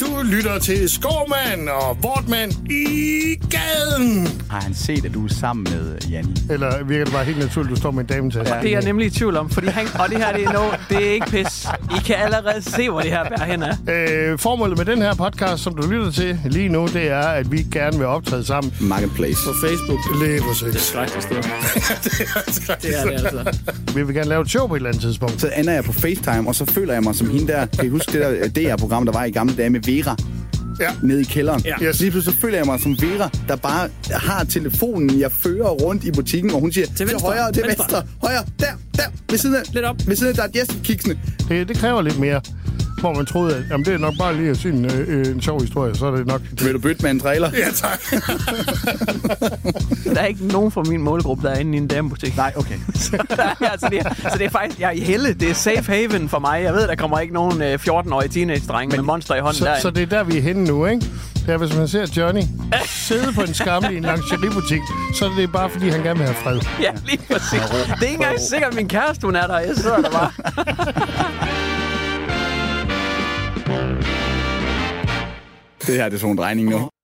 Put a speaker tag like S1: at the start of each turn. S1: Du lytter til Skovmand og Vortmand i gaden.
S2: Har han set, at du er sammen med Janni?
S1: Eller virker det bare helt naturligt, du står med en dame til?
S3: Det er jeg nemlig i tvivl om, fordi han, og det her det er, no, det er ikke pis. I kan allerede se, hvor det her bærer hen af.
S1: Øh, formålet med den her podcast, som du lytter til lige nu, det er, at vi gerne vil optræde sammen.
S2: Marketplace.
S4: På Facebook.
S1: Lige præcis.
S4: Skrækkeligt sted. det er det altså.
S1: Vi vil gerne lave et show på et eller andet tidspunkt.
S2: Så ender jeg på FaceTime, og så føler jeg mig som hende der. Kan I huske det der øh, DR-program, der var i gamle dage med Vera?
S1: Ja.
S2: Nede i kælderen.
S4: Ja.
S1: Yes.
S2: Lige pludselig så føler jeg mig som Vera, der bare har telefonen, jeg fører rundt i butikken, og hun siger, til,
S4: venstre,
S2: højre, til venstre.
S4: venstre."
S2: højre, der, der, ved siden af,
S4: Lidt op.
S2: ved siden af, der er et gæstekiksende.
S1: Det, det kræver lidt mere, hvor man troede, at jamen, det er nok bare lige at sige en, øh, en sjov historie, så er det nok...
S2: Vil du bytte med en trailer?
S1: Ja, tak.
S3: Der er ikke nogen fra min målgruppe, der er inde i en damebutik.
S2: Nej, okay.
S3: så, ja, så, det er, så det er faktisk, jeg er i helle. Det er safe haven for mig. Jeg ved, der kommer ikke nogen øh, 14-årige teenage-drenge med monster i hånden
S1: Så,
S3: derinde.
S1: så det er der, vi er henne nu, ikke? Det er, hvis man ser Johnny sidde på en skammel i en lingeriebutik, så er det bare, fordi han gerne vil have fred.
S3: Ja, lige præcis. Det er ikke engang sikkert, at min kæreste, hun er der. Jeg sidder der bare.
S2: Det her, det er sådan en regning nu.